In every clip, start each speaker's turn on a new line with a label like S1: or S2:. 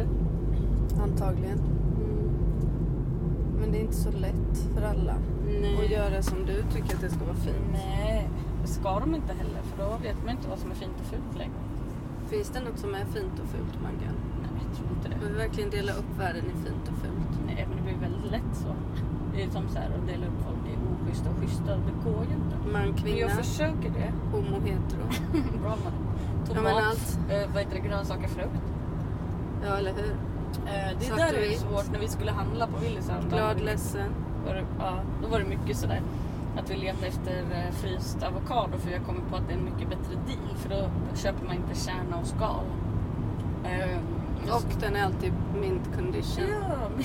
S1: Mm.
S2: antagligen. Men det är inte så lätt för alla
S1: Nej.
S2: att göra som du tycker att det ska vara fint.
S1: Nej, det ska de inte heller för då vet man inte vad som är fint och fult längre.
S2: Finns det något som är fint och fult, Maggan?
S1: Nej, jag tror inte det.
S2: Vill vi verkligen dela upp världen i fint och fult?
S1: Nej, men det blir väldigt lätt så. Det är som så här att dela upp folk i oschyssta och schyssta. Det går ju inte.
S2: Man,
S1: Men
S2: kvinna,
S1: jag försöker det.
S2: homo, hetero.
S1: Bra man.
S2: Ja,
S1: Tomat,
S2: men allt.
S1: eh, vad heter det, grönsaker, frukt.
S2: Ja, eller hur?
S1: Eh, det
S2: Svart
S1: där
S2: och
S1: är ju
S2: vitt.
S1: svårt när vi skulle handla på Willys häromdagen.
S2: Glad, ledsen.
S1: var det, ja, då var det mycket sådär att vi letade efter eh, fryst avokado för jag kom på att det är en mycket bättre deal för då köper man inte kärna och skal. Ehm,
S2: Och den är alltid mint condition.
S1: Ja,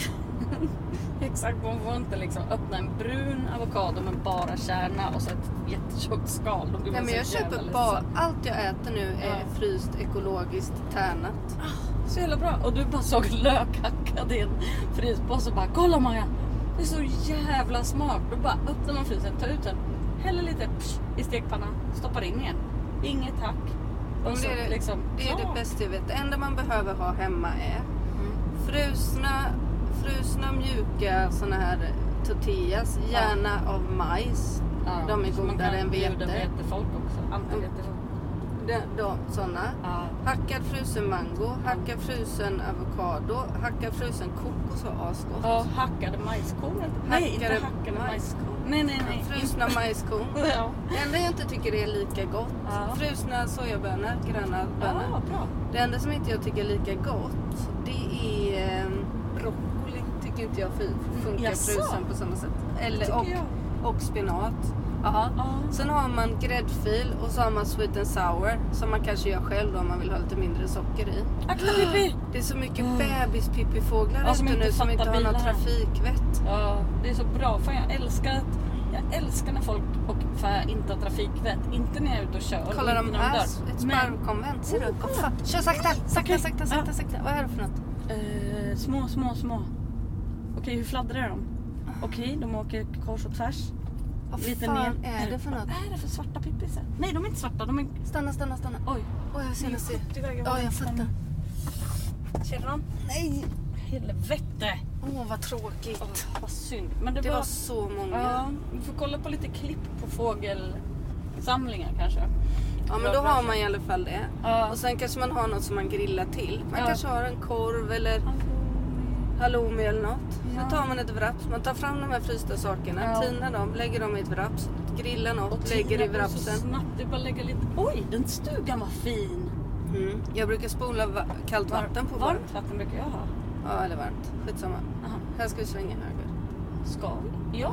S1: exakt. Man får inte liksom öppna en brun avokado med bara kärna och så ett jättetjockt skal. Då blir
S2: Nej,
S1: man
S2: men
S1: så jävla
S2: jag köper
S1: ledsen.
S2: bara... Allt jag äter nu är
S1: Ja.
S2: fryst, ekologiskt, tärnat.
S1: Så jävla bra. Och du bara såg lök hackad i en fryspåse och bara kolla Maja. Det är så jävla smart. Då bara öppnar man frysen, tar ut den, häller lite psh, i stekpannan, stoppar in igen. Inget hack.
S2: Men
S1: Och så
S2: det är det-
S1: liksom
S2: Det är det
S1: klart.
S2: bästa jag vet. Det enda man behöver ha hemma är frusna, frusna mjuka såna här tortillas, gärna av majs.
S1: Ja,
S2: De är
S1: så man
S2: godare
S1: kan
S2: än
S1: bjuda
S2: vete.
S1: vetefolk också. Antivetefolk.
S2: De, de, såna.
S1: Ja.
S2: Hackad frusen mango, hackad frusen avokado, hackad frusen kokos var asgott.
S1: Ja, hackade majskorn. Nej, inte
S2: Hackade
S1: hackade
S2: majskorn.
S1: majskorn. Nej, nej, nej.
S2: Frusna majskorn.
S1: Ja.
S2: Det enda jag inte tycker är lika gott,
S1: Ja.
S2: frusna sojabönor, gröna bönor.
S1: Ja, bra.
S2: Det enda som inte jag tycker är lika gott, det är ehm, broccoli. Tycker inte jag fi- funkar
S1: Mm, Jaså?
S2: frusen på samma sätt. Eller,
S1: Tycker
S2: och,
S1: jag.
S2: och spinat. Jaha.
S1: Ja.
S2: Sen har man gräddfil och så har man sweet and sour som man kanske gör själv då, om man vill ha lite mindre socker i.
S1: Akta Pippi!
S2: Det är så mycket bebispippifåglar
S1: Mm. Ja,
S2: ute
S1: som inte
S2: nu som
S1: fattar
S2: inte har något
S1: bilar.
S2: trafikvett.
S1: Ja, det är så bra. Fan, jag älskar att jag älskar när folk och fan, inte har trafikvett. Inte när jag är ute och kör.
S2: Kolla
S1: inte
S2: de
S1: när
S2: här,
S1: dör.
S2: ett
S1: Men,
S2: sparvkonvent. Ser du?
S1: Oh,
S2: Kom, fan. Kör sakta, sakta,
S1: Okej.
S2: sakta,
S1: Ja.
S2: sakta, sakta. Vad är det för något?
S1: eh, små, små, små. Okej, hur fladdrar de? Okej, de åker kors och tvärs.
S2: Vad
S1: Lite
S2: fan
S1: ner.
S2: är det för något?
S1: Vad är det för svarta pippisar? Nej, de är inte svarta. De är...
S2: Stanna, stanna, stanna.
S1: Oj.
S2: Oj, jag ser, jag ser.
S1: skjuter iväg över
S2: Ja, jag
S1: vänstern.
S2: fattar.
S1: Ser du dem?
S2: Nej!
S1: Helvete!
S2: Åh, vad tråkigt.
S1: Åh, vad synd. Men det,
S2: det var
S1: var
S2: så många.
S1: Ja, vi får kolla på lite klipp på fågelsamlingar kanske.
S2: Ja, men då har man i alla fall det.
S1: Ja.
S2: Och sen kanske man har något som man grillar till. Man
S1: Ja.
S2: kanske har en korv eller
S1: Alltså,
S2: halloumi eller något.
S1: Ja.
S2: Så tar man ett wraps. Man tar fram de här frysta sakerna,
S1: Ja.
S2: tinar dem, lägger dem i ett wraps. Grillar något, lägger i
S1: tiden går Så
S2: wrapsen.
S1: snabbt, det är bara att lägga lite... Oj, den stugan var fin!
S2: Mm. Jag brukar spola va- kallt vatten på bara.
S1: Varmt vatten brukar jag ha.
S2: Ja, eller varmt. Skitsamma.
S1: Aha.
S2: Här ska vi svänga höger.
S1: Ska vi? Ja.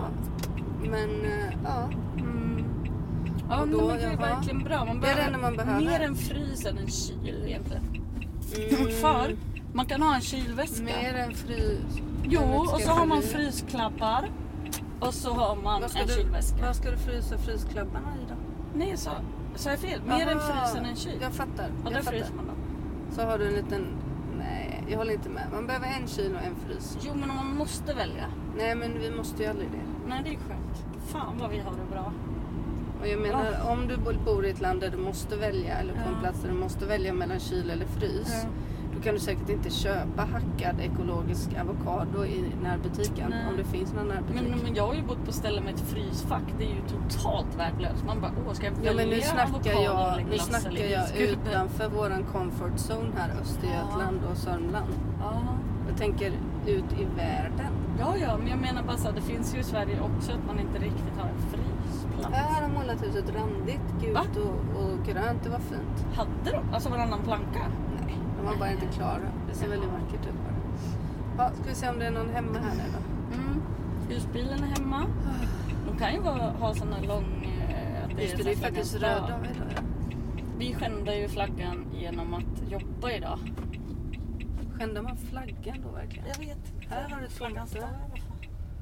S2: Men eh, ja,
S1: Mm. Ja,
S2: Och
S1: men
S2: då,
S1: det är
S2: jaha.
S1: verkligen bra. Man
S2: Det är det
S1: behöver,
S2: enda man behöver.
S1: mer en frys än en kyl egentligen.
S2: Mm.
S1: För man kan ha en kylväska.
S2: mer än frys.
S1: Jo,
S2: Men det ska
S1: och så har man
S2: bli-
S1: frysklappar. Och så har man
S2: Vad ska,
S1: en
S2: du,
S1: kylväska.
S2: vad ska du frysa frysklubbarna i då?
S1: Nej, jag sa, sa jag fel? Mer en
S2: Aha,
S1: frys än en kyl.
S2: Jag fattar.
S1: Ja, där
S2: jag fattar.
S1: fryser man då.
S2: Så har du en liten... Nej, jag håller inte med. Man behöver en kyl och en frys.
S1: Jo, men om man måste välja.
S2: Nej, men vi måste ju aldrig det.
S1: Nej, det är skönt. Fan vad vi har det bra.
S2: Och jag menar, om du bo- bor i ett land där du måste välja, eller på
S1: Ja.
S2: en plats där du måste välja mellan kyl eller frys,
S1: Ja.
S2: då kan du säkert inte köpa hackad ekologisk avokado i närbutiken,
S1: Nej.
S2: om det finns någon närbutik.
S1: Men, men jag har ju bott på ställen med ett frysfack. Det är ju totalt värdelöst. Man bara, åh, ska jag välja
S2: Ja, men nu snackar
S1: avokado
S2: jag,
S1: eller
S2: nu
S1: glass
S2: snackar
S1: eller
S2: jag
S1: iskubb?
S2: utanför våran comfort zone här, Östergötland och Sörmland.
S1: Ja.
S2: Jag tänker ut i världen.
S1: ja, ja, men jag menar bara så här, det finns ju i Sverige också att man inte riktigt har en frysplats.
S2: Här har de målat huset randigt, gult
S1: Va?
S2: och, och grönt. Det var fint.
S1: Hade de? Alltså varannan planka?
S2: Nej, de var bara inte klara. Det ser väldigt vackert ut bara. Ja, ska vi se om det är någon hemma här nu då.
S1: Mm. Husbilen är hemma. De kan ju vara, ha såna lång... eh, att
S2: Det är,
S1: sån
S2: det är
S1: här
S2: faktiskt
S1: flagga.
S2: röd dag idag. ja.
S1: Vi skändar ju flaggan genom att jobba idag.
S2: Skändar man flaggan då verkligen?
S1: Jag vet inte.
S2: Här har du ett
S1: flaggan
S2: fönster.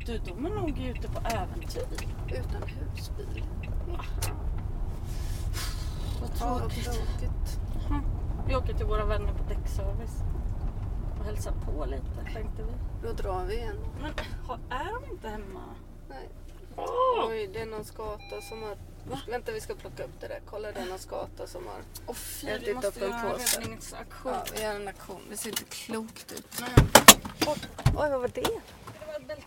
S1: Du, de är nog ute på äventyr.
S2: Utan husbil.
S1: Vad
S2: Ja, vad
S1: tråkigt.
S2: tråkigt.
S1: Vi åker till våra vänner på däckservice och hälsar på lite tänkte vi.
S2: Då drar vi igen.
S1: Men har- är de inte hemma?
S2: Nej. Oj, det är någon skata som har... Vänta, vi ska plocka upp det där. Kolla, det är någon skata som har...
S1: Åh fy,
S2: Jag har
S1: vi
S2: ätit
S1: måste
S2: upp en
S1: göra
S2: påse.
S1: räddningsaktion.
S2: Ja, vi gör en aktion. Det ser inte klokt ut.
S1: Nej.
S2: Oj, oj, vad var det?
S1: Det var ett bälte.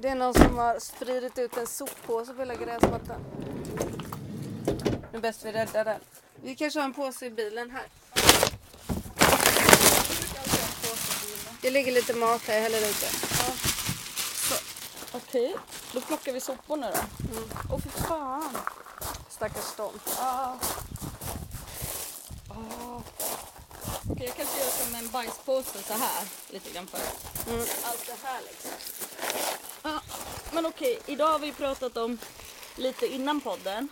S2: Det är någon som har spridit ut en soppåse på hela gräsmattan. Nu är bäst vi räddar den. Vi kanske har en påse i bilen här. Det ligger lite mat här, jag häller ut det.
S1: Okej, då plockar vi soporna då. Mm. Åh fy fan.
S2: Stackars dem.
S1: Ah. Ah. Okej, jag kanske gör som en bajspåse så här. Lite grann för
S2: Mm.
S1: allt det här liksom. Ja, men okej, idag har vi pratat om lite innan podden.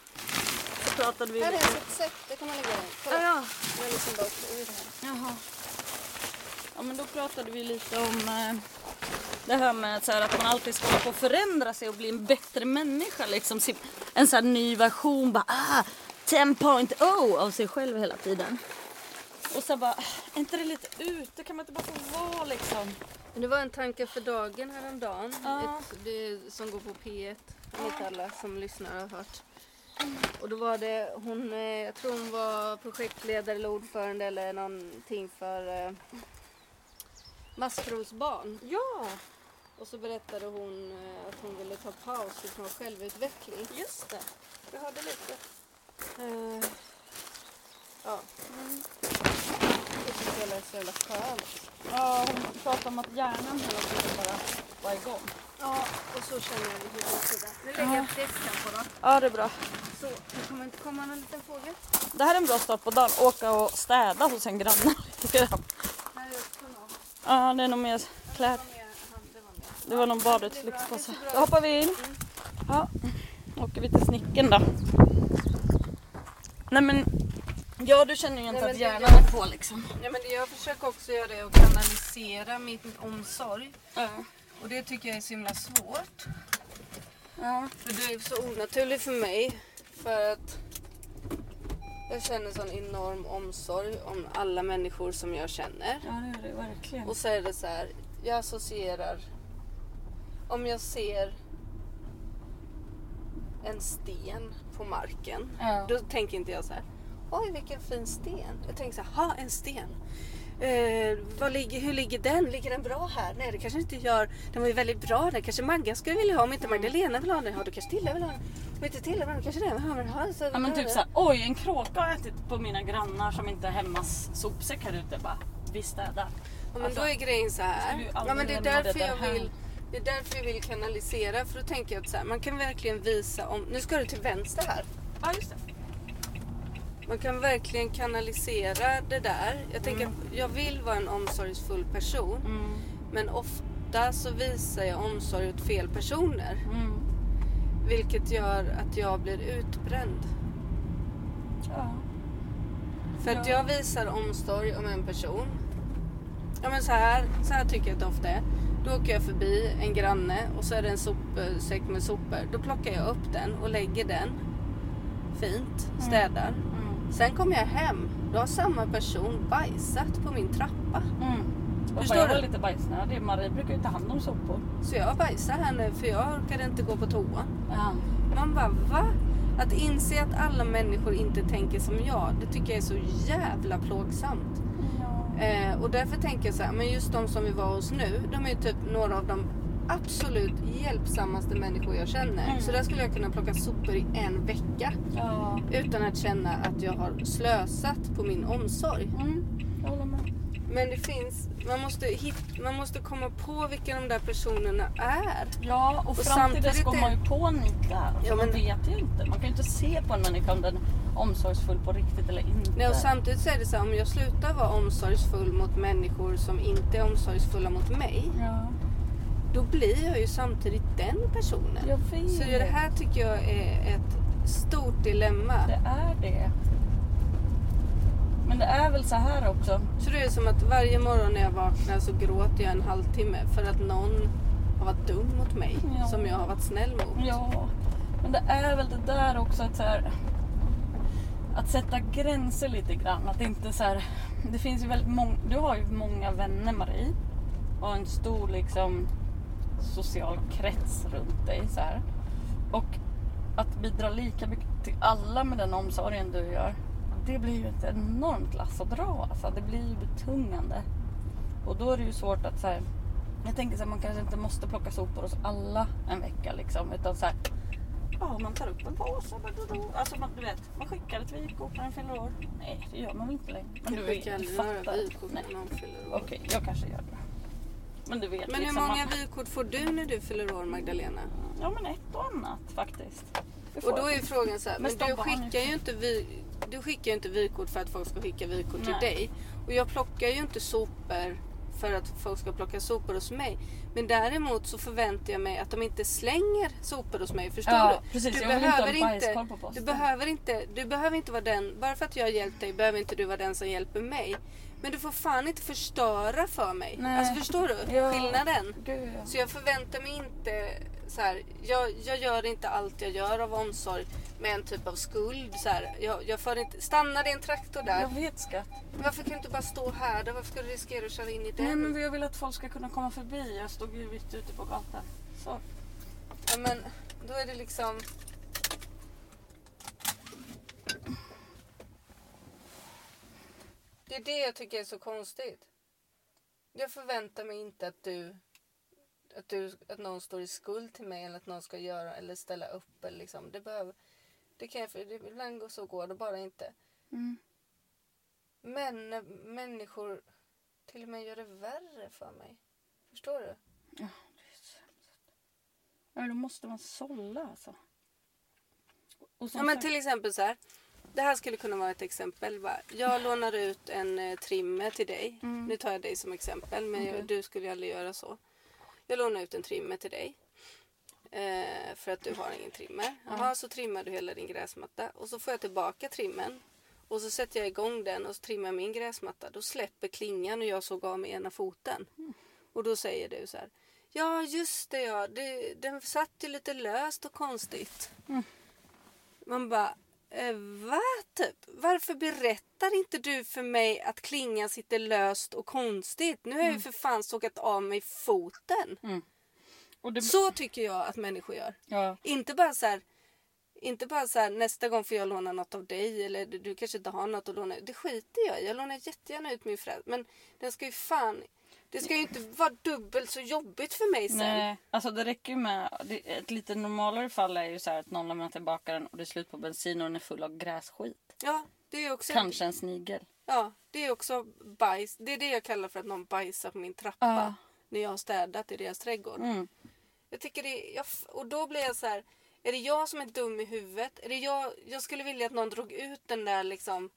S1: Så pratade vi
S2: Här är
S1: lite...
S2: ett sätt, det kan man lägga in.
S1: Ja,
S2: Kolla,
S1: ja.
S2: den är liksom bara uppe i den här.
S1: Jaha. Ja men då pratade vi lite om eh, det här med så här, att man alltid ska hålla på och förändra sig och bli en bättre människa. Liksom, sin- en så här ny version bara ah, 10.0 av sig själv hela tiden. Och så bara, "Ah, är inte det lite ute? Kan man inte bara få vara liksom?
S2: Men Det var en tanke för dagen häromdagen.
S1: Ja.
S2: Ett, det, som går på P1. Som inte alla som lyssnar har hört. Och då var det hon, eh, jag tror hon var projektledare eller ordförande eller någonting för eh, maskrosbarn.
S1: Ja,
S2: Och så berättade hon eh, att hon ville ta paus från självutveckling.
S1: just det.
S2: Jag hörde lite. Eh, Mm. ja. Jag tyckte det lät så jävla skönt.
S1: Ja, hon pratade om att hjärnan hela tiden bara var igång.
S2: Ja, och så känner jag vid huvudet. Nu lägger jag fläsken på då.
S1: Ja, det är bra.
S2: Så, det kommer inte komma någon liten fågel.
S1: Det här är en bra start på dagen. Åka och städa hos en granne.
S2: Här är också någon.
S1: Ja, det är nog mer kläder.
S2: Kom igen, han- det var med.
S1: Det var någon badrumslyktspåse. Då hoppar vi in. Ja, då åker vi till snicken då. Nej men, ja du känner ju
S2: Nej,
S1: inte
S2: men
S1: att
S2: det-
S1: hjärnan är på liksom.
S2: Nej, men det jag försöker också göra är att kanalisera min omsorg.
S1: Ja.
S2: Och det tycker jag är så himla svårt.
S1: Ja.
S2: För du är så onaturlig för mig. För att jag känner sån enorm omsorg om alla människor som jag känner.
S1: ja, det är det verkligen.
S2: Och så är det så här, jag associerar. Om jag ser en sten på marken.
S1: Ja.
S2: Då tänker inte jag så här, oj vilken fin sten. Jag tänker så här, ha en sten. Eh, vad ligger, hur ligger den? Ligger den bra här? Nej det kanske inte gör. Den var ju väldigt bra där. Kanske Maggan skulle vilja ha om
S1: Mm.
S2: inte Magdalena vill ha den. Ja då kanske Tilla vill ha den. Om inte Tilla vill ha den kanske den vill ha den. Ja, så-
S1: Ja men typ såhär, oj en kråka har ätit på mina grannar som inte är hemmas sopsäck här ute. Bara, vi städar.
S2: Ja, men
S1: Alltså,
S2: då är grejen så
S1: ska
S2: här.
S1: du
S2: Ja,
S1: aldrig
S2: men det, är
S1: lämna det
S2: därför
S1: där
S2: jag
S1: här?
S2: vill, det är därför jag vill kanalisera. För då tänker jag att så här, man kan verkligen visa om... Nu ska du till vänster här.
S1: Ja just det.
S2: Man kan verkligen kanalisera det där. Jag tänker att jag vill vara en omsorgsfull person.
S1: Mm.
S2: Men ofta så visar jag omsorg åt fel personer.
S1: Mm.
S2: Vilket gör att jag blir utbränd.
S1: Ja.
S2: För att
S1: Ja.
S2: jag visar omsorg om en person. Ja men så här, så här tycker jag att det ofta är. Då åker jag förbi en granne och så är det en sopsäck med sopor. Då plockar jag upp den och lägger den fint, städar.
S1: Mm.
S2: Sen kommer jag hem. Då har samma person bajsat på min trappa.
S1: Mm. Och
S2: Förstår
S1: jag
S2: du?
S1: var lite bajsnödig. Marie brukar ju ta hand om sopor.
S2: Så jag bajsar här nu för jag orkade inte gå på toa.
S1: Ja.
S2: Man bara va? Att inse att alla människor inte tänker som jag, det tycker jag är så jävla plågsamt. Eh, och därför tänker jag så här, men just de som vi var hos nu, de är ju typ några av de absolut hjälpsammaste människor jag känner.
S1: Mm.
S2: Så där skulle jag kunna plocka sopor i en vecka
S1: Ja.
S2: utan att känna att jag har slösat på min omsorg.
S1: Mm. Jag håller med.
S2: Men det finns, man måste, hit, man måste komma på vilka de där personerna är.
S1: Ja, och, fram till dess
S2: samtidigt
S1: går
S2: är-
S1: man ju på nitar.
S2: Ja,
S1: Man
S2: men-
S1: vet ju inte. Man kan ju inte se på en människa om den är omsorgsfull på riktigt eller inte.
S2: Nej, och samtidigt så är det så här, om jag slutar vara omsorgsfull mot människor som inte är omsorgsfulla mot mig,
S1: Ja,
S2: då blir jag ju samtidigt den personen.
S1: jag vet.
S2: Så det här tycker jag är ett stort dilemma.
S1: Det är det. Men det är väl så här också.
S2: Så det är som att varje morgon när jag vaknar så gråter jag en halvtimme för att någon har varit dum mot mig
S1: Ja.
S2: som jag har varit snäll mot.
S1: Ja, men det är väl det där också att så här, att sätta gränser lite grann. Att inte så här, det finns ju väldigt många, du har ju många vänner Marie och en stor liksom social krets runt dig så här. Och att bidra lika mycket till alla med den omsorgen du gör, det blir ju ett enormt lass att dra. Alltså, det blir ju betungande. Och då är det ju svårt att så här, Jag tänker så här, man kanske inte måste plocka sopor hos alla en vecka liksom. Utan så här, ja man tar upp en påse. men då- då- Alltså man, du vet, man skickar ett vykort när den fyller år. Nej det gör man väl inte längre. Men du vet,
S2: skickar
S1: du
S2: aldrig några
S1: fattar.
S2: vykort
S1: Nej.
S2: när någon fyller år.
S1: Okej, jag kanske gör det. Men du vet
S2: Men hur
S1: liksom.
S2: många
S1: man-
S2: vykort får du när du fyller år Magdalena?
S1: Ja men ett och annat faktiskt. Det får
S2: Och då
S1: jag.
S2: är ju frågan så här,
S1: Men
S2: men
S1: stoppa
S2: du
S1: honom
S2: skickar ju inte vy, du skickar ju inte vykort för att folk ska skicka vykort till
S1: Nej.
S2: dig. Och jag plockar ju inte sopor för att folk ska plocka sopor hos mig. Men däremot så förväntar jag mig att de inte slänger sopor hos mig. Förstår
S1: Ja,
S2: du?
S1: precis.
S2: du
S1: Jag vill inte ha en bajskorv på
S2: du
S1: posten.
S2: behöver inte, du behöver inte vara den, bara för att jag har hjälpt dig behöver inte du vara den som hjälper mig. Men du får fan inte förstöra för mig.
S1: Nej.
S2: Alltså förstår du
S1: Ja.
S2: skillnaden?
S1: Gud, ja.
S2: Så jag förväntar mig inte så här, jag, jag gör inte allt jag gör av omsorg med en typ av skuld. Så här, jag, jag för inte, stanna din traktor där.
S1: Jag vet skatt.
S2: Varför kan du inte bara stå här då? Varför ska du riskera att köra in i den?
S1: Nej men jag vill att folk ska kunna komma förbi. Jag stod ju mitt ute på gatan. Så.
S2: ja, men då är det liksom... Det är det jag tycker är så konstigt. Jag förväntar mig inte att du... Att, du, att någon står i skuld till mig eller att någon ska göra eller ställa upp. Eller liksom. Det behöver... Det kan jag, för det, ibland går så går det bara inte.
S1: Mm.
S2: Men när människor till och med gör det värre för mig. Förstår du?
S1: Ja, men då måste man sålla alltså. Och som
S2: Ja, men
S1: sagt-
S2: till exempel så här. Det här skulle kunna vara ett exempel. Va? Jag lånar ut en eh, trimmer till dig.
S1: Mm.
S2: Nu tar jag dig som exempel, men
S1: Okej.
S2: jag, du skulle ju aldrig göra så. Jag lånar ut en trimmer till dig. Eh, för att du har ingen trimmer. Jaha, så trimmar du hela din gräsmatta. Och så får jag tillbaka trimmen. Och så sätter jag igång den och så trimmar jag min gräsmatta. Då släpper klingan och jag såg av med ena foten.
S1: Mm.
S2: Och då säger du så här. Ja, just det ja. Det, den satt ju lite löst och konstigt. Man bara, eh, va? Typ. Varför berättar inte du för mig att klingan sitter löst och konstigt? Nu har
S1: Mm.
S2: jag ju för fan sågat av mig foten.
S1: och det,
S2: Så tycker jag att människor gör.
S1: ja,
S2: Inte bara så här, inte bara så här nästa gång får jag låna något av dig eller du, du kanske inte har något att låna. Det skiter jag i. Jag lånar jättegärna ut min fräs. Men den ska ju fan, det ska ju inte vara dubbelt så jobbigt för mig sen.
S1: nej, alltså det räcker ju med... Det, ett lite normalare fall är ju så här att någon lämnar tillbaka den och det är slut på bensin och den är full av grässkit.
S2: Ja, det är också
S1: Kanske en snigel.
S2: Ja, det är också bajs. Det är det jag kallar för att någon bajsar på min trappa.
S1: Ja.
S2: När jag har städat i deras trädgård.
S1: Mm.
S2: Jag tycker det är, jag, f- och då blir jag så här. Är det jag som är dum i huvudet? Är det jag, jag skulle vilja att någon drog ut den där liksom.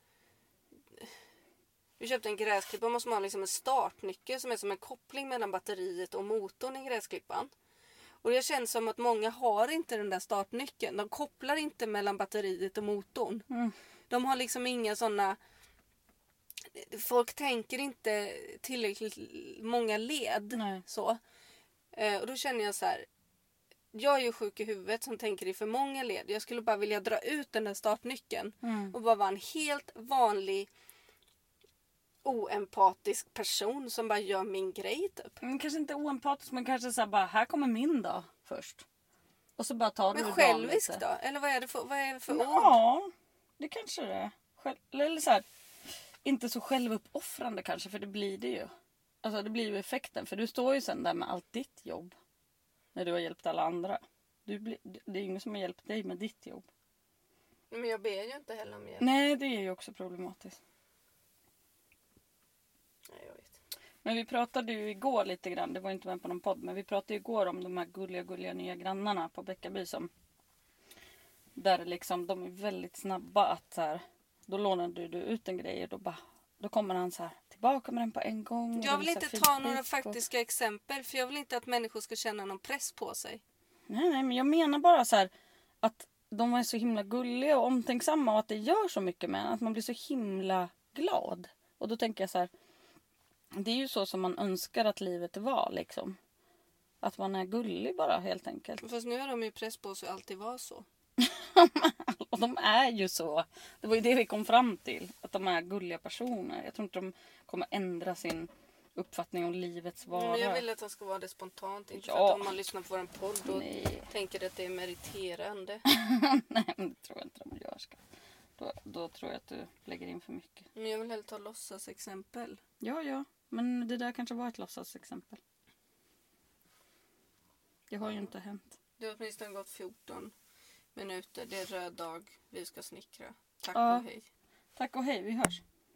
S2: Du köpte en gräsklippa. måste man ha liksom en startnyckel som är som en koppling mellan batteriet och motorn i gräsklippan. Och jag känner som att många har inte den där startnyckeln. De kopplar inte mellan batteriet och motorn.
S1: Mm.
S2: De har liksom inga sådana... Folk tänker inte tillräckligt många led.
S1: Nej.
S2: Så. Eh, och då känner jag så här. Jag är ju sjuk i huvudet som tänker i för många led. Jag skulle bara vilja dra ut den där startnyckeln
S1: Mm.
S2: och bara vara en helt vanlig oempatisk person som bara gör min grej typ.
S1: Men kanske inte oempatisk men kanske så här bara här kommer min dag först. Och så bara tar du
S2: Men
S1: dagen
S2: självisk
S1: lite.
S2: då? Eller vad är det för, vad är det för ord?
S1: Ja, det kanske det är. Själv, eller så här, inte så självuppoffrande kanske, för det blir det ju. Alltså det blir ju effekten, för du står ju sen där med allt ditt jobb. När du har hjälpt alla andra. Du blir, det är ju ingen som har hjälpt dig med ditt jobb.
S2: Men jag ber ju inte heller om hjälp.
S1: Nej, det är ju också problematiskt.
S2: Nej, jag vet.
S1: Men vi pratade ju igår lite grann, det var inte med på någon podd, men vi pratade ju igår om de här gulliga, gulliga nya grannarna på Bäckaby som där liksom, de är väldigt snabba att så här, då lånade du ut en grej och då bara, då kommer han så här tillbaka med den på en gång. och
S2: Jag
S1: de
S2: vill
S1: visar
S2: inte ta
S1: feedback
S2: några
S1: och-
S2: faktiska exempel för jag vill inte att människor ska känna någon press på sig.
S1: Nej, nej, men jag menar bara så här att de är så himla gulliga och omtänksamma och att det gör så mycket med en, att man blir så himla glad. Och då tänker jag så här, det är ju så som man önskar att livet var liksom. Att man är gullig bara helt enkelt.
S2: Fast nu har de ju press på sig att alltid vara så.
S1: Och de är ju så. Det var ju det vi kom fram till. Att de är gulliga personer. Jag tror inte de kommer ändra sin uppfattning om livets vara.
S2: Mm, Men jag vill att de ska vara det spontant. Inte för
S1: Ja.
S2: att om man lyssnar på vår podd och
S1: Nej.
S2: tänker att det är meriterande.
S1: Nej, men det tror jag inte de gör. Ska. Då, då tror jag att du lägger in för mycket.
S2: Men jag vill hellre ta låtsas exempel.
S1: Ja, ja. Men det där kanske var ett låtsasexempel. Det har ju inte hänt.
S2: Det har åtminstone gått 14 minuter. Det är röd dag. Vi ska snickra. Tack
S1: Ja.
S2: och hej.
S1: Tack och hej, vi hörs.